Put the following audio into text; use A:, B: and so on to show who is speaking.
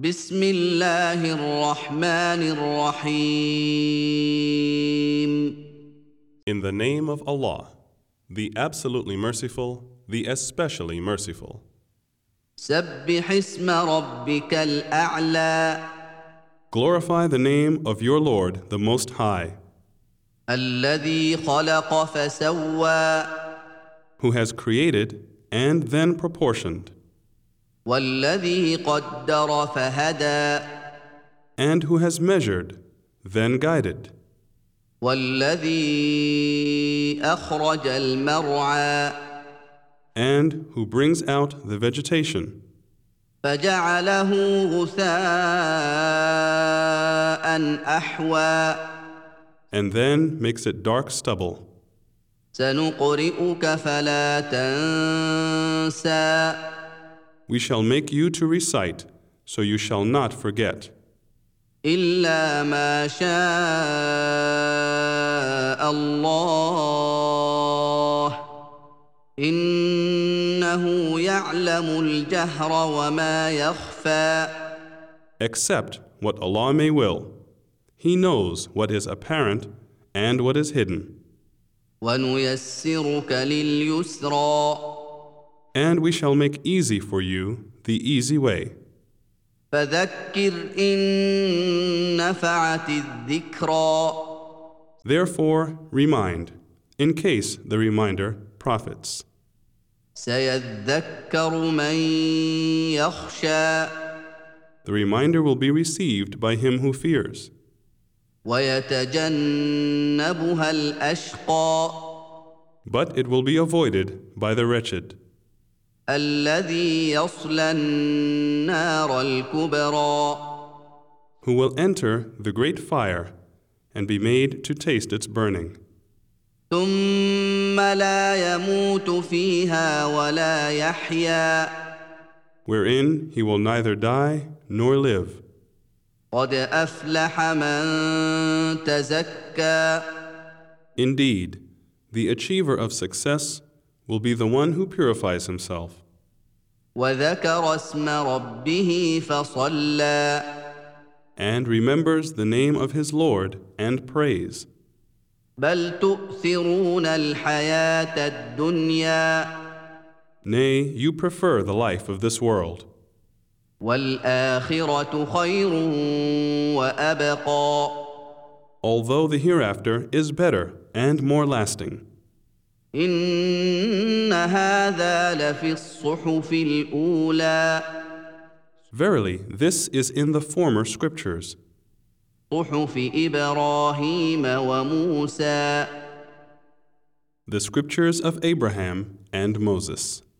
A: بسم الله الرحمن الرحيم
B: In the name of Allah, the absolutely merciful, the especially merciful.
A: سبح اسم ربك الأعلى
B: Glorify the name of your Lord, the Most High,
A: الذي خلق فسوى
B: who has created and then proportioned,
A: والذي قدر فهدى
B: and who has measured, then guided,
A: والذي أخرج المرعى
B: and who brings out the vegetation,
A: فجعله غثاء أحوى
B: and then makes it dark stubble.
A: سنقرئك فلا تنسى
B: We shall make you to recite, so you shall not forget,
A: إلا ما شاء الله إنه يعلم الجهر وما يخفى
B: except what Allah may will. He knows what is apparent and what is hidden.
A: ونيسرك لليسرى
B: And we shall make easy for you the easy way.
A: فذكر إن نفعت الذكرى
B: Therefore, remind, in case the reminder profits.
A: سيذكر من يخشى
B: The reminder will be received by him who fears,
A: ويتجنبها الأشقى
B: but it will be avoided by the wretched,
A: الذي يصلى النار الكبرى
B: who will enter the great fire and be made to taste its burning,
A: ثم لا يموت فيها ولا يحيا
B: wherein he will neither die nor live.
A: قد أفلح من تزكى
B: Indeed, the achiever of success will be the one who purifies himself
A: وذكر اسم ربه فصلى
B: and remembers the name of his Lord and prays.
A: بل تؤثرون الحياة الدنيا
B: Nay, you prefer the life of this world,
A: والآخرة خير وأبقى
B: although the hereafter is better and more lasting.
A: إن هذا لفي الصحف الأولى
B: Verily, this is in the former scriptures,
A: صحف إبراهيم وموسى
B: the scriptures of Abraham and Moses.